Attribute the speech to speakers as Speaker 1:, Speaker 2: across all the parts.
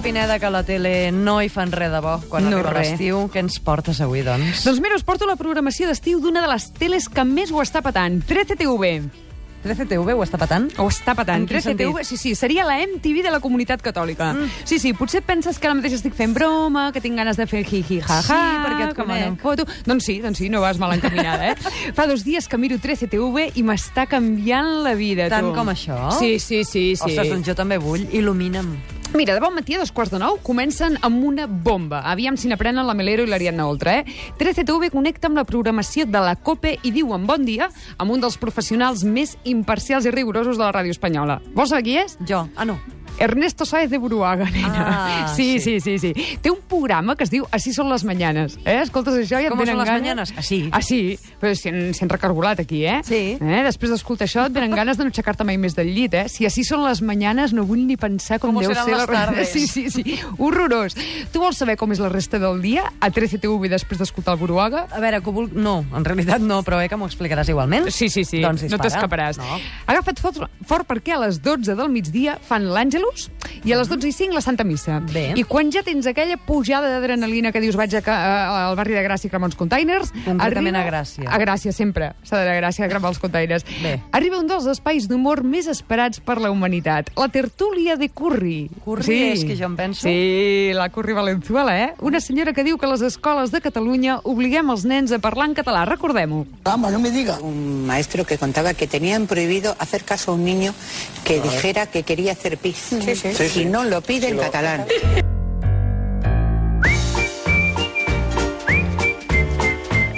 Speaker 1: Pineda, que a la tele no hi fan res de bo quan
Speaker 2: No
Speaker 1: no arriba
Speaker 2: res.
Speaker 1: l'estiu. Què ens portes avui, doncs?
Speaker 2: Doncs mira, us porto la programació d'estiu d'una de les teles que més ho està patant, 13TV.
Speaker 1: 13TV ho està patant?
Speaker 2: Ho està patant.
Speaker 1: En quin
Speaker 2: 13TV, sí, sí, seria la MTV de la comunitat catòlica. Mm. Sí, sí, potser penses que ara mateix estic fent broma, que tinc ganes de fer hi-hi, ha, ha,
Speaker 1: Sí, perquè et conec.
Speaker 2: Foto. Doncs sí, doncs sí, no vas mal encaminada, eh? Fa dos dies que miro 13TV i m'està canviant la vida,
Speaker 1: Tant
Speaker 2: tu.
Speaker 1: com això?
Speaker 2: Sí, sí, sí. sí.
Speaker 1: Ostres, doncs jo també vull. Il·lumina'm.
Speaker 2: Mira, de bon matí a dos quarts de nou comencen amb una bomba. Aviam si n'aprenen la Melero i l'Ariadna Oltra, eh? 13TV connecta amb la programació de la COPE i diu en bon dia amb un dels professionals més imparcials i rigorosos de la ràdio espanyola. Vols saber qui és?
Speaker 1: Jo. Ah, no.
Speaker 2: Ernesto Sáez de Buruaga, nena.
Speaker 1: Ah,
Speaker 2: sí,
Speaker 1: sí.
Speaker 2: sí, sí, sí. Té un programa que es diu Així són les mañanes. Eh? Escoltes això i et
Speaker 1: Com
Speaker 2: venen
Speaker 1: són les
Speaker 2: ganes...
Speaker 1: mañanes? Així.
Speaker 2: Així. Però si han, si han recargolat aquí, eh?
Speaker 1: Sí.
Speaker 2: Eh? Després d'escoltar això et venen ganes de no aixecar-te mai més del llit, eh? Si així són les mañanes no vull ni pensar com,
Speaker 1: Com
Speaker 2: deu
Speaker 1: seran
Speaker 2: ser...
Speaker 1: les tardes.
Speaker 2: Sí, sí, sí. Horrorós. Tu vols saber com és la resta del dia a 13TV després d'escoltar el Buruaga?
Speaker 1: A veure, que ho vulc... No, en realitat no, però eh, que m'ho explicaràs igualment.
Speaker 2: Sí, sí, sí.
Speaker 1: Doncs
Speaker 2: no
Speaker 1: dispara.
Speaker 2: t'escaparàs.
Speaker 1: No.
Speaker 2: Agafa't fort, fort perquè a les 12 del migdia fan l'Àngelus i a les 12 i 5 la Santa Missa.
Speaker 1: Bé.
Speaker 2: I quan ja tens aquella pujada d'adrenalina que dius vaig a, ca- a, al barri de Gràcia i cremar uns containers...
Speaker 1: Concretament a Gràcia.
Speaker 2: A Gràcia, sempre. S'ha d'anar a Gràcia a cremar els containers.
Speaker 1: Bé.
Speaker 2: Arriba un dels espais d'humor més esperats per la humanitat. La tertúlia de Curri.
Speaker 1: Curri és que jo em penso.
Speaker 2: Sí, la Curri Valenzuela, eh? Una senyora que diu que a les escoles de Catalunya obliguem els nens a parlar en català. Recordem-ho.
Speaker 3: Vamos, no me diga.
Speaker 4: un maestro que contaba que tenían prohibido hacer caso a un niño que dijera que quería hacer pis.
Speaker 3: Sí,
Speaker 4: Si
Speaker 3: sí.
Speaker 4: no lo pide en catalán.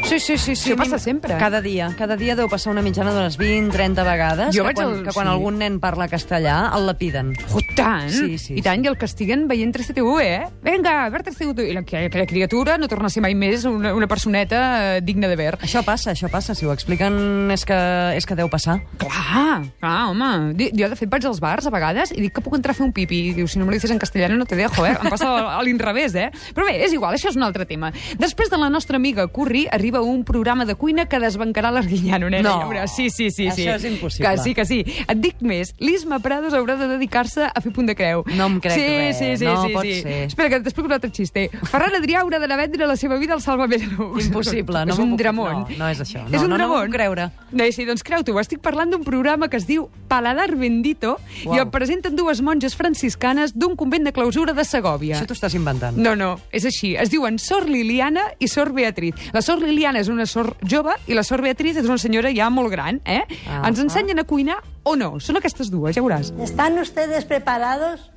Speaker 1: Sí, sí, sí. sí
Speaker 2: Això passa
Speaker 1: a mi-
Speaker 2: sempre.
Speaker 1: Cada dia. Cada dia deu passar una mitjana d'unes 20, 30 vegades.
Speaker 2: Jo
Speaker 1: que
Speaker 2: vaig
Speaker 1: quan,
Speaker 2: al-
Speaker 1: Que quan
Speaker 2: sí.
Speaker 1: algun nen parla castellà, el lapiden.
Speaker 2: Oh, tant!
Speaker 1: Sí, sí,
Speaker 2: I tant,
Speaker 1: sí.
Speaker 2: i el castiguen veient 3CTV, eh? Vinga, a veure 3CTV. I la, que, que la criatura no torna a ser mai més una, una personeta eh, digna de ver.
Speaker 1: Això passa, això passa. Si ho expliquen és que, és que deu passar.
Speaker 2: Clar, clar, home. Di- Jo, de fet, vaig als bars a vegades i dic que puc entrar a fer un pipi. I diu, si no me lo dices en castellano no te dejo, eh? Em passa a a l'inrevés, eh? Però bé, és igual, això és un altre tema. Després de la nostra amiga Curri, arriba un programa de cuina que desbancarà l'Arguinyano, nena.
Speaker 1: No.
Speaker 2: ja veuràs. Sí, sí, sí, sí.
Speaker 1: Això és impossible.
Speaker 2: Que sí, que sí. Et dic més, l'Isma Prados haurà de dedicar-se a fer punt de creu.
Speaker 1: No em crec
Speaker 2: sí,
Speaker 1: res,
Speaker 2: Sí, sí,
Speaker 1: no
Speaker 2: sí,
Speaker 1: pot
Speaker 2: sí.
Speaker 1: ser.
Speaker 2: Espera, que t'explico un altre xiste. Ferran Adrià haurà d'anar a vendre la seva vida al Salvament Luz.
Speaker 1: Impossible, no
Speaker 2: és
Speaker 1: m'ho
Speaker 2: un
Speaker 1: puc-
Speaker 2: dramón.
Speaker 1: no, no és això.
Speaker 2: és
Speaker 1: No,
Speaker 2: un
Speaker 1: no, no m'ho
Speaker 2: dramón.
Speaker 1: puc creure.
Speaker 2: No, sí, doncs creu-t'ho, estic parlant d'un programa que es diu Paladar Bendito
Speaker 1: Uau.
Speaker 2: i el presenten dues monges franciscanes d'un convent de clausura de Segòvia.
Speaker 1: Això t'ho estàs inventant.
Speaker 2: No, no, és així. Es diuen Sor Liliana i Sor Beatriz. La Sor Liliana és una sor jove i la Sor Beatriz és una senyora ja molt gran, eh?
Speaker 1: Ah,
Speaker 2: Ens ensenyen a cuinar o no. Són aquestes dues, ja veuràs.
Speaker 5: ¿Están ustedes preparados?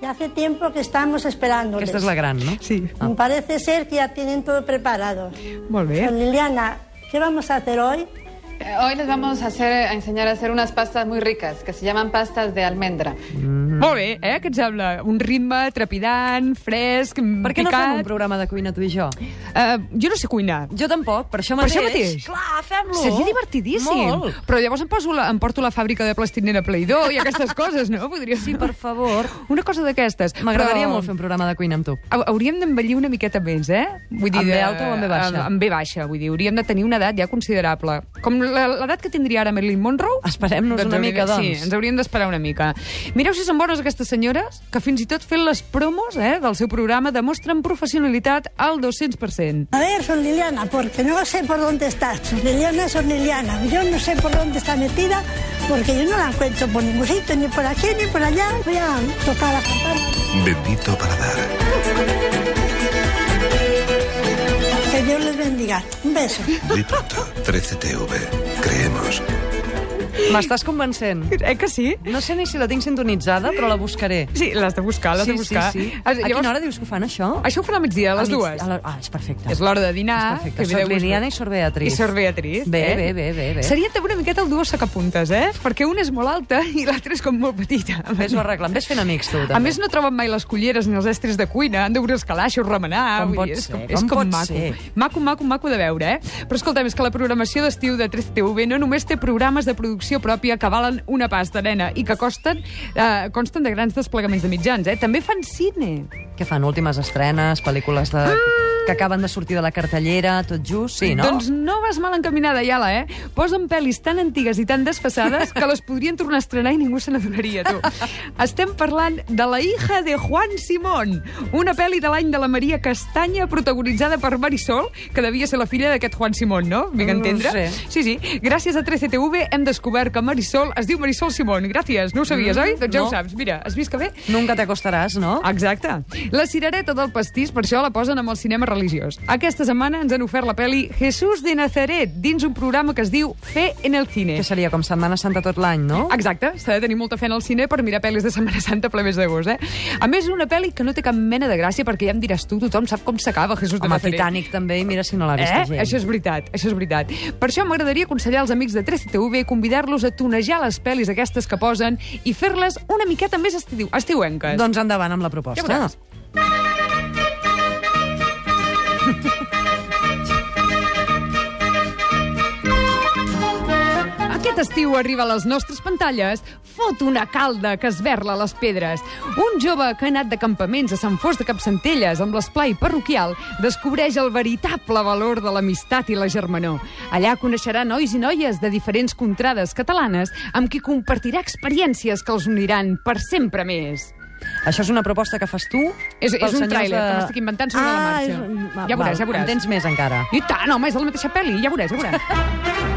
Speaker 5: Ya hace tiempo que estamos esperándoles.
Speaker 1: Aquesta és la gran, no?
Speaker 2: Sí.
Speaker 5: Parece ser que ya tienen todo preparado.
Speaker 2: Molt bé.
Speaker 5: Don Liliana, ¿qué vamos a hacer hoy?
Speaker 6: Eh, Hoy les vamos a, hacer, a enseñar a hacer unas pastas muy ricas que se llaman pastas de almendra.
Speaker 1: Mm.
Speaker 2: Molt bé, eh? Què et sembla? Un ritme trepidant, fresc, mm,
Speaker 1: Per què no fem un
Speaker 2: picat...
Speaker 1: programa de cuina tu i jo?
Speaker 2: Eh, jo no sé cuinar.
Speaker 1: Jo tampoc, per això
Speaker 2: Per
Speaker 1: mateix.
Speaker 2: això mateix.
Speaker 1: Clar, fem-lo.
Speaker 2: Seria divertidíssim.
Speaker 1: Molt.
Speaker 2: Però llavors em, poso la, em porto la fàbrica de plastinera Plaidó i aquestes coses, no? Podria...
Speaker 1: Sí, per favor.
Speaker 2: Una cosa d'aquestes.
Speaker 1: M'agradaria
Speaker 2: però
Speaker 1: molt fer un programa de cuina amb tu.
Speaker 2: hau- Hauríem d'envellir una miqueta més, eh? Vull
Speaker 1: Amb
Speaker 2: de-
Speaker 1: B alta o amb B baixa?
Speaker 2: Amb, amb B baixa, vull dir. Hauríem de tenir una edat ja considerable. Com la- l'edat que tindria ara Marilyn Monroe.
Speaker 1: Esperem-nos una
Speaker 2: hauríem-
Speaker 1: mica, doncs.
Speaker 2: Sí, ens hauríem d'esperar una mica. Mireu si són bones aquestes senyores, que fins i tot fent les promos eh, del seu programa demostren professionalitat al 200%.
Speaker 5: A ver, Sor Liliana, porque no sé por dónde estás. Sor Liliana es Sor Liliana. Yo no sé por dónde está metida, porque yo no la encuentro por ningún sitio, ni por aquí, ni por allá. Voy a tocar la campana.
Speaker 7: Bendito para dar.
Speaker 5: Que Dios les bendiga. Un beso.
Speaker 7: Muy pronto. 13TV. Creemos.
Speaker 1: M'estàs convencent.
Speaker 2: Eh que sí?
Speaker 1: No sé ni si la tinc sintonitzada, però la buscaré.
Speaker 2: Sí, l'has de buscar, l'has
Speaker 1: sí,
Speaker 2: de buscar.
Speaker 1: Sí, sí.
Speaker 2: Ah,
Speaker 1: A quina hora dius que ho fan, això?
Speaker 2: Això ho farà a migdia, a les
Speaker 1: mig-
Speaker 2: dues.
Speaker 1: A la... Ah, és perfecte.
Speaker 2: És l'hora de dinar.
Speaker 1: És perfecte.
Speaker 2: que ve
Speaker 1: Sor
Speaker 2: de gust.
Speaker 1: Liliana i Sor Beatriz.
Speaker 2: I Sor Beatriz.
Speaker 1: Bé,
Speaker 2: eh?
Speaker 1: bé, bé, bé, bé.
Speaker 2: Seria també una miqueta el duo sacapuntes, eh? Perquè una és molt alta i l'altra és com molt petita.
Speaker 1: Ves-ho arreglant. Ves fent amics, tu, també.
Speaker 2: A més, no troben mai les culleres ni els estris de cuina, han d'obrir els calaixos, remenar...
Speaker 1: Com
Speaker 2: vull
Speaker 1: pot
Speaker 2: dir, és
Speaker 1: ser,
Speaker 2: com,
Speaker 1: com
Speaker 2: és com
Speaker 1: pot
Speaker 2: maco.
Speaker 1: ser.
Speaker 2: Maco, maco, maco de veure, eh? Però escolta'm, és que la programació d'estiu de 3TV no només té programes de producció pròpia que valen una pasta, nena, i que costen, eh, consten de grans desplegaments de mitjans, eh? També fan cine.
Speaker 1: Què fan? Últimes estrenes, pel·lícules
Speaker 2: Ah!
Speaker 1: de... que acaben de sortir de la cartellera, tot just? Sí, no?
Speaker 2: Doncs no vas mal encaminada, Iala, eh? Posen pel·lis tan antigues i tan desfassades que les podrien tornar a estrenar i ningú se n'adonaria, tu. Estem parlant de La hija de Juan Simón, una pel·li de l'any de la Maria Castanya protagonitzada per Marisol, que devia ser la filla d'aquest Juan Simón, no? Vinc a
Speaker 1: No ho
Speaker 2: entendre.
Speaker 1: sé.
Speaker 2: Sí, sí. Gràcies a 13TV hem descobert que Marisol es diu Marisol Simón. Gràcies, no ho sabies,
Speaker 1: Mm,
Speaker 2: oi? Doncs ja
Speaker 1: no.
Speaker 2: ho saps. Mira, has vist que bé?
Speaker 1: Nunca t'acostaràs, no?
Speaker 2: Ah, Exacte. La cirereta del pastís, per això la posen amb el cinema religiós. Aquesta setmana ens han ofert la pel·li Jesús de Nazaret, dins un programa que es diu Fe en el cine.
Speaker 1: Que seria com Setmana Santa tot l'any, no?
Speaker 2: Exacte, s'ha de tenir molta fe en el cine per mirar pel·lis de Setmana Santa a plebes d'agost, eh? A més, és una pel·li que no té cap mena de gràcia perquè ja em diràs tu, tothom sap com s'acaba Jesús de
Speaker 1: Home,
Speaker 2: Nazaret.
Speaker 1: Titanic també, i mira si no l'ha vist
Speaker 2: Eh?
Speaker 1: gent.
Speaker 2: Això és veritat, això és veritat. Per això m'agradaria aconsellar als amics de 13TV i convidar-los a tonejar les pel·lis aquestes que posen i fer-les una miqueta més estiu, estiuenques.
Speaker 1: Doncs endavant amb la proposta.
Speaker 2: Ja veuràs. Aquest estiu arriba a les nostres pantalles Fot una calda que esberla les pedres. Un jove que ha anat de campaments a Sant Fos de Capcentelles amb l'esplai parroquial descobreix el veritable valor de l'amistat i la germanor. Allà coneixerà nois i noies de diferents contrades catalanes amb qui compartirà experiències que els uniran per sempre més.
Speaker 1: Això és una proposta que fas tu?
Speaker 2: És-
Speaker 1: pels
Speaker 2: és un
Speaker 1: senyors
Speaker 2: tràiler
Speaker 1: de-
Speaker 2: que m'estic inventant sobre la
Speaker 1: ah,
Speaker 2: marxa.
Speaker 1: És...
Speaker 2: Ja veuràs, ja veuràs.
Speaker 1: En tens més encara.
Speaker 2: I tant, home, és de la mateixa pel·li, ja veuràs, ja veuràs.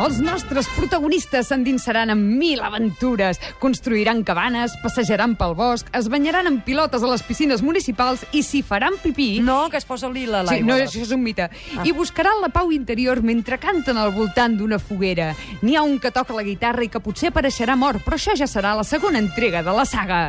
Speaker 2: Els nostres protagonistes s'endinsaran en mil aventures, construiran cabanes, passejaran pel bosc, es banyaran en pilotes a les piscines municipals i s'hi faran pipí...
Speaker 1: No, que es posa lila
Speaker 2: Sí,
Speaker 1: l'aigua.
Speaker 2: no, això és un mite.
Speaker 1: Ah.
Speaker 2: I buscaran la pau interior mentre canten al voltant d'una foguera. N'hi ha un que toca la guitarra i que potser apareixerà mort, però això ja serà la segona entrega de la saga.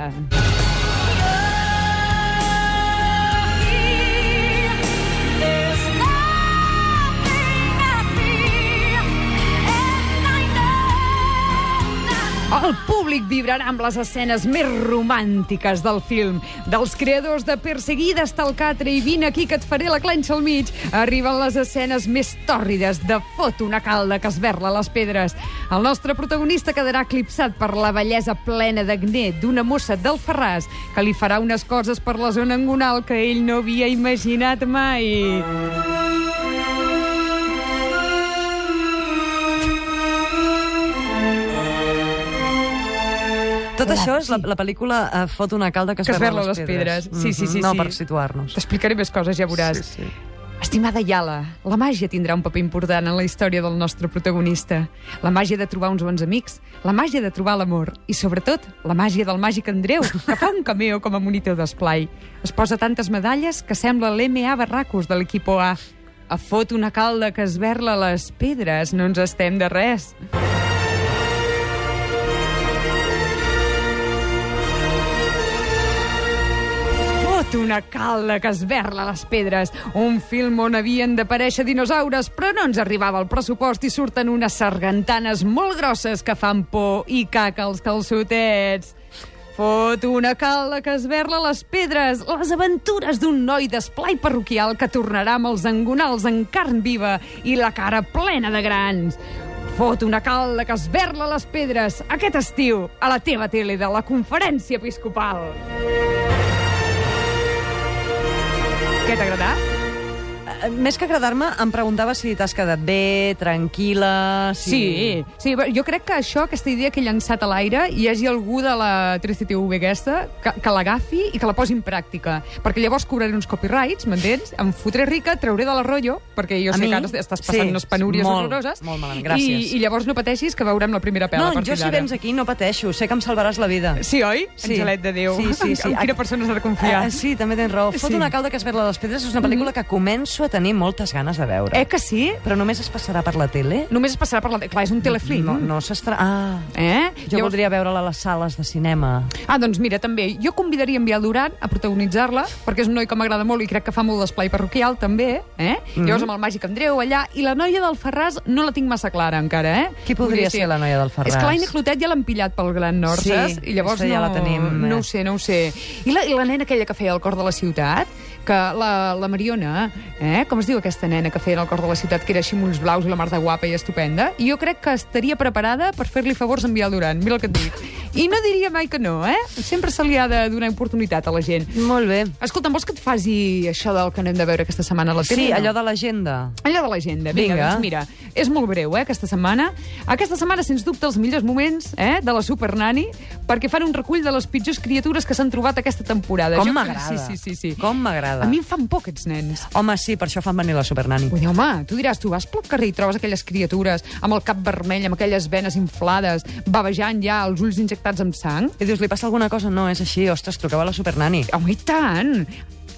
Speaker 2: El públic vibrarà amb les escenes més romàntiques del film. Dels creadors de Perseguida hasta el catre i Vine aquí que et faré la clenxa al mig, arriben les escenes més tòrrides de Fot una calda que esberla les pedres. El nostre protagonista quedarà eclipsat per la bellesa plena d'acné d'una mossa del Ferraz que li farà unes coses per la zona angonal que ell no havia imaginat mai.
Speaker 1: Tot això és la, la pel·lícula eh, Fot una calda que,
Speaker 2: Que es
Speaker 1: esberla
Speaker 2: berla les pedres. Sí, sí,
Speaker 1: Mhm,
Speaker 2: sí,
Speaker 1: No,
Speaker 2: sí.
Speaker 1: per situar-nos.
Speaker 2: T'explicaré més coses, ja veuràs.
Speaker 1: Sí, sí.
Speaker 2: Estimada Yala, la màgia tindrà un paper important en la història del nostre protagonista. La màgia de trobar uns bons amics, la màgia de trobar l'amor i, sobretot, la màgia del màgic Andreu, que fa un cameo com a monitor d'esplai. Es posa tantes medalles que sembla l'MA Barracos de l'equip A. A fot una calda que esberla les pedres, no ens estem de res. Fot una calda que esberla les pedres. Un film on havien d'aparèixer dinosaures, però no ens arribava el pressupost i surten unes sargantanes molt grosses que fan por i caca els calçotets. Fot una calda que esberla les pedres, les aventures d'un noi d'esplai parroquial que tornarà amb els angonals en carn viva i la cara plena de grans. Fot una calda que esberla les pedres aquest estiu a la teva tele de la conferència episcopal. Què t'ha agradat?
Speaker 1: Eh, Més que agradar-me, em preguntava si t'has quedat bé, tranquil·la... Si...
Speaker 2: Sí, sí, però jo crec que això, aquesta idea que he llançat a l'aire, hi hagi algú de la 13TV aquesta que, que l'agafi i que la posi en pràctica. Perquè llavors cobraré uns copyrights, m'entens? Em fotré rica, trauré de la rotllo, perquè jo
Speaker 1: A
Speaker 2: sé
Speaker 1: mi?
Speaker 2: que ara estàs passant
Speaker 1: Sí,
Speaker 2: unes penúries
Speaker 1: molt,
Speaker 2: horroroses.
Speaker 1: molt malament, gràcies.
Speaker 2: I, I llavors no pateixis que veurem la primera pela
Speaker 1: No,
Speaker 2: a partir
Speaker 1: jo si
Speaker 2: d'ara.
Speaker 1: vens aquí no pateixo, sé que em salvaràs la vida.
Speaker 2: Sí, oi?
Speaker 1: Sí.
Speaker 2: Angelet de Déu.
Speaker 1: Sí, sí, sí.
Speaker 2: En quina persona s'ha de confiar?
Speaker 1: Ah, sí, també tens raó. Fot
Speaker 2: Sí.
Speaker 1: una calda que es verla a les pedres és una pel·lícula que començo a tenir moltes ganes de veure.
Speaker 2: Eh que sí?
Speaker 1: Però només es passarà per la tele?
Speaker 2: Només es passarà per la... Clar, és un telefilm.
Speaker 1: No, no s'estarà... Ah,
Speaker 2: Eh?
Speaker 1: jo voldria veure-la a les sales de cinema.
Speaker 2: Ah, doncs mira, també. Jo convidaria en Biel Duran a protagonitzar-la, perquè és un noi que m'agrada molt i crec que fa molt d'esplai parroquial, també. Eh?
Speaker 1: Mm-hmm.
Speaker 2: Mm -hmm. Llavors, amb el màgic Andreu allà. I la noia del Ferraz no la tinc massa clara, encara, eh?
Speaker 1: Qui podria ser la noia del Ferraz?
Speaker 2: És que l'Aina Clotet ja l'han pillat pel Gran Nord,
Speaker 1: Sí,
Speaker 2: saps? I llavors
Speaker 1: aquesta ja
Speaker 2: no,
Speaker 1: la tenim, eh.
Speaker 2: no ho sé, no ho sé. I la, i la nena aquella que feia el cor de la ciutat, que la, la Mariona, eh? com es diu aquesta nena que feia el cor de la ciutat, que era així amb ulls blaus i la mar de guapa i estupenda, i jo crec que estaria preparada per fer-li favors a en Biel Duran. Mira el que et dic. I no diria mai que no, eh? Sempre se li ha de donar oportunitat a la gent.
Speaker 1: Molt bé.
Speaker 2: Escolta'm, vols que et faci això del que anem de veure aquesta setmana a la tele?
Speaker 1: Sí,
Speaker 2: o no?
Speaker 1: allò de l'agenda.
Speaker 2: Allò de l'agenda, vinga,
Speaker 1: Vinga.
Speaker 2: vinga. Doncs mira, és molt breu, eh, aquesta setmana. Aquesta setmana, sens dubte, els millors moments eh, de la Super Nani, perquè fan un recull de les pitjors criatures que s'han trobat aquesta temporada.
Speaker 1: Com
Speaker 2: Jo-
Speaker 1: m'agrada.
Speaker 2: Sí, sí, sí. sí.
Speaker 1: Com m'agrada.
Speaker 2: A mi em fan por aquests nens.
Speaker 1: Home, sí, per això fan venir la Supernani.
Speaker 2: Vull dir, home, tu diràs, tu vas pel carrer i trobes aquelles criatures amb el cap vermell, amb aquelles venes inflades, babejant ja, els ulls injectats amb sang.
Speaker 1: I dius, li passa alguna cosa? No, és així. Ostres, truqueu a la Supernani.
Speaker 2: Home, i tant!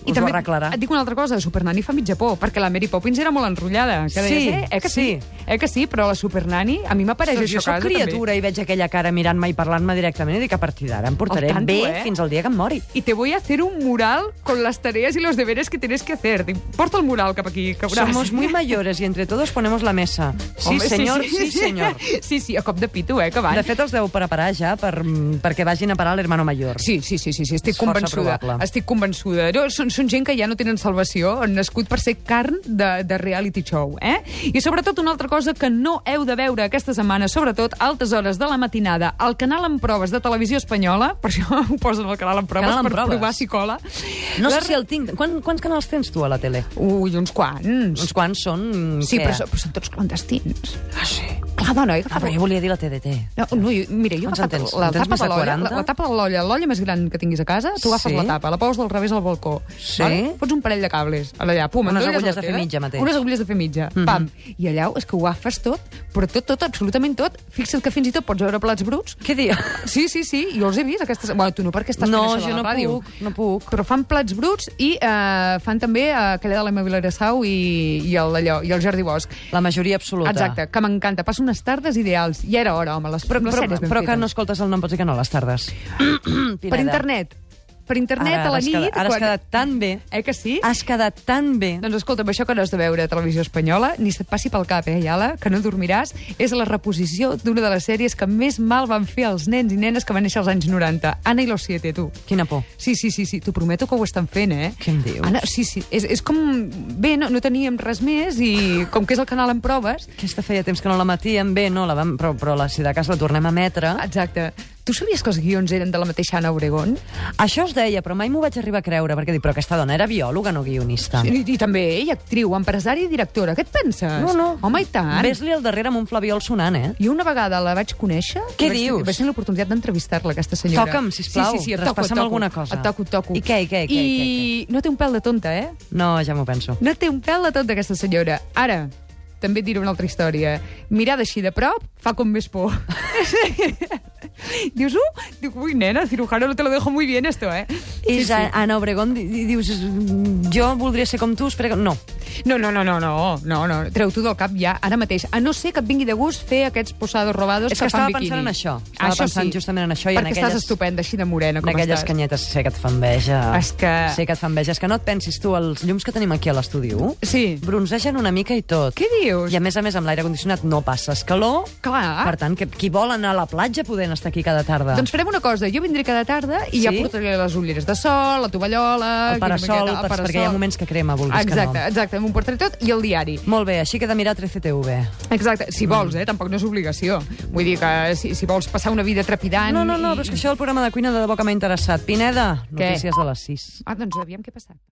Speaker 2: I
Speaker 1: Us ho arreglarà.
Speaker 2: et dic una altra cosa, Supernani fa mitja por, perquè la Mary Poppins era molt enrotllada. Que
Speaker 1: Sí,
Speaker 2: deies, eh? eh que sí.
Speaker 1: sí.
Speaker 2: Eh que sí, però la Supernani, a mi m'apareix
Speaker 1: Ostres,
Speaker 2: això
Speaker 1: jo
Speaker 2: a casa,
Speaker 1: sóc criatura
Speaker 2: també.
Speaker 1: i veig aquella cara mirant-me i parlant-me directament i dic, a partir d'ara em portaré
Speaker 2: Al tanto,
Speaker 1: bé
Speaker 2: eh?
Speaker 1: fins al dia que em mori.
Speaker 2: Y te voy a hacer un mural con las tareas y los deberes que tienes que hacer. Te importa el mural cap aquí, cabrón.
Speaker 1: Somos muy mayores y entre todos ponemos la mesa. Sí,
Speaker 2: Home,
Speaker 1: senyor, sí, senyor.
Speaker 2: Sí, sí, a cop de pito, eh, que van.
Speaker 1: De fet, els deu preparar ja per, mm, perquè vagin a parar a l'hermano mayor.
Speaker 2: Sí, sí, sí, sí, sí, estic
Speaker 1: És força
Speaker 2: convençuda.
Speaker 1: probable.
Speaker 2: Estic convençuda. No, són, són gent que ja no tenen salvació, han nascut per ser carn de, de reality show, eh? I sobretot una altra cosa que no heu de veure aquesta setmana, sobretot a altes hores de la matinada, al canal en proves de Televisió Espanyola, per això ho posen al canal en proves,
Speaker 1: Canal en
Speaker 2: per
Speaker 1: proves.
Speaker 2: provar si cola.
Speaker 1: No sé si el tinc... Quan, quants canals tens tu a la tele?
Speaker 2: Ui, uns quants.
Speaker 1: Uns quants són...
Speaker 2: Sí,
Speaker 1: què?
Speaker 2: però, so- però són tots clandestins.
Speaker 1: Ah, sí.
Speaker 2: Clar, dona, he
Speaker 1: Ah, però
Speaker 2: agafat...
Speaker 1: jo volia dir la TDT.
Speaker 2: No, no, jo, mira, jo he
Speaker 1: Quants
Speaker 2: agafat
Speaker 1: en tens?
Speaker 2: la
Speaker 1: En tens més
Speaker 2: tapa de
Speaker 1: de
Speaker 2: l'olla, la,
Speaker 1: 40?
Speaker 2: la tapa de l'olla, l'olla més gran que tinguis a casa, tu agafes
Speaker 1: Sí.
Speaker 2: la tapa, la poses del revés al balcó.
Speaker 1: Sí.
Speaker 2: Fots un parell de cables, allà, pum,
Speaker 1: Unes
Speaker 2: endolles
Speaker 1: agulles
Speaker 2: la
Speaker 1: de fer
Speaker 2: teva,
Speaker 1: mitja mateix. Mhm.
Speaker 2: Unes agulles de fer mitja, pam. I allà és que ho agafes tot, però tot, tot, absolutament tot. Fixa't que fins i tot pots veure plats bruts.
Speaker 1: Què diu?
Speaker 2: Sí, sí, sí, jo els he vist. Aquestes... Bueno, tu no, perquè estàs
Speaker 1: No,
Speaker 2: fent això de
Speaker 1: jo
Speaker 2: la
Speaker 1: no
Speaker 2: ràdio.
Speaker 1: puc, no puc.
Speaker 2: Però fan plats bruts i eh, fan també eh, aquella de l'Emma Vilarassau i, i, el, allò, i el Jordi Bosch.
Speaker 1: La majoria absoluta.
Speaker 2: Exacte, que m'encanta. Passo unes tardes ideals. Ja era hora, home, les,
Speaker 1: Però,
Speaker 2: les
Speaker 1: però,
Speaker 2: sèries ben
Speaker 1: però que
Speaker 2: fetes.
Speaker 1: no escoltes el nom, pots dir que no, a les tardes.
Speaker 2: Per internet. Per internet,
Speaker 1: Ara,
Speaker 2: a la
Speaker 1: has
Speaker 2: nit...
Speaker 1: quedat- ara has quedat Ah. tan bé.
Speaker 2: Eh que sí?
Speaker 1: Has quedat tan bé.
Speaker 2: Doncs escolta'm, això que no has de veure a Televisió Espanyola, ni se't passi pel cap, eh, Iala, que no dormiràs, és la reposició d'una de les sèries que més mal van fer als nens i nenes que van néixer als anys 90. Anna i los siete, tu.
Speaker 1: Quina por.
Speaker 2: Sí, sí, sí, sí, t'ho prometo que ho estan fent, eh?
Speaker 1: Què em dius?
Speaker 2: Anna, sí, sí, és, és com... Bé, no, no teníem res més i com que és el canal en proves...
Speaker 1: Aquesta feia temps que no la matíem bé, no, la vam, però, però la, si de cas la tornem a emetre.
Speaker 2: Exacte. Tu sabies que els guions eren de la mateixa Anna Obregón?
Speaker 1: Això es deia, però mai m'ho vaig arribar a creure, perquè dic, però aquesta dona era biòloga, no guionista.
Speaker 2: I, I també ella, actriu, empresària i directora. Què et penses?
Speaker 1: No, no.
Speaker 2: Home, i tant.
Speaker 1: Ves-li al darrere amb un flabiol sonant, eh?
Speaker 2: Jo una vegada la vaig conèixer...
Speaker 1: Què
Speaker 2: vaig,
Speaker 1: dius?
Speaker 2: Vaig tenir l'oportunitat d'entrevistar-la, aquesta senyora.
Speaker 1: Toca'm, sisplau.
Speaker 2: Sí, sí, sí, et toco,
Speaker 1: Traspassa'm
Speaker 2: et toco.
Speaker 1: alguna cosa.
Speaker 2: Et toco, et toco.
Speaker 1: I què, i què, i què,
Speaker 2: I
Speaker 1: i
Speaker 2: no té un pèl de tonta, eh?
Speaker 1: No, ja m'ho penso.
Speaker 2: No té un pèl de tonta, aquesta senyora. Ara, també et diré una altra història. Mirada així de prop fa com més por. Dius, uh, dic, ui, nena, cirujano, no te lo dejo muy bien, esto, eh?
Speaker 1: I sí, sí. Anna Obregón di- di- dius, "Mm, jo voldria ser com tu, espera que... No.
Speaker 2: No, no, no, no, no, no, no. Treu-t'ho del cap ja, ara mateix. A no ser que et vingui de gust fer aquests posados robados
Speaker 1: És que
Speaker 2: fan
Speaker 1: estava
Speaker 2: biquini.
Speaker 1: pensant en això. Estava pensant justament en això i en
Speaker 2: Perquè estàs
Speaker 1: aquelles-
Speaker 2: estupenda, així de morena,
Speaker 1: En
Speaker 2: com
Speaker 1: aquelles
Speaker 2: estàs.
Speaker 1: canyetes sé que et fan veja.
Speaker 2: És que-
Speaker 1: Sé que et fan veja. És que no et pensis tu, els llums que tenim aquí a l'estudi 1
Speaker 2: Sí.
Speaker 1: bronzegen una mica i tot.
Speaker 2: Què dius?
Speaker 1: I a més a més, amb l'aire condicionat no passes calor.
Speaker 2: Clar.
Speaker 1: Per tant, que qui vol anar a la platja podent estar aquí cada tarda.
Speaker 2: Ah. Doncs farem una cosa, jo vindré cada tarda i
Speaker 1: Sí?
Speaker 2: ja portaré les ulleres de sol, la tovallola...
Speaker 1: El
Speaker 2: i una
Speaker 1: parasol,
Speaker 2: miqueta- el
Speaker 1: per- perquè hi ha moments que crema, vulguis que
Speaker 2: exacte,
Speaker 1: no.
Speaker 2: Exacte, m'ho portaré tot i el diari.
Speaker 1: Molt bé, així que de mirar 13TV.
Speaker 2: Exacte,
Speaker 1: Mm.
Speaker 2: si vols, eh? Tampoc no és obligació. Vull dir que si, si vols passar una vida trepidant...
Speaker 1: No, no, no,
Speaker 2: i-
Speaker 1: però és que això del programa de cuina de debò que m'ha interessat. Pineda,
Speaker 2: Què?
Speaker 1: notícies de les 6.
Speaker 2: Ah, doncs aviam què ha passat.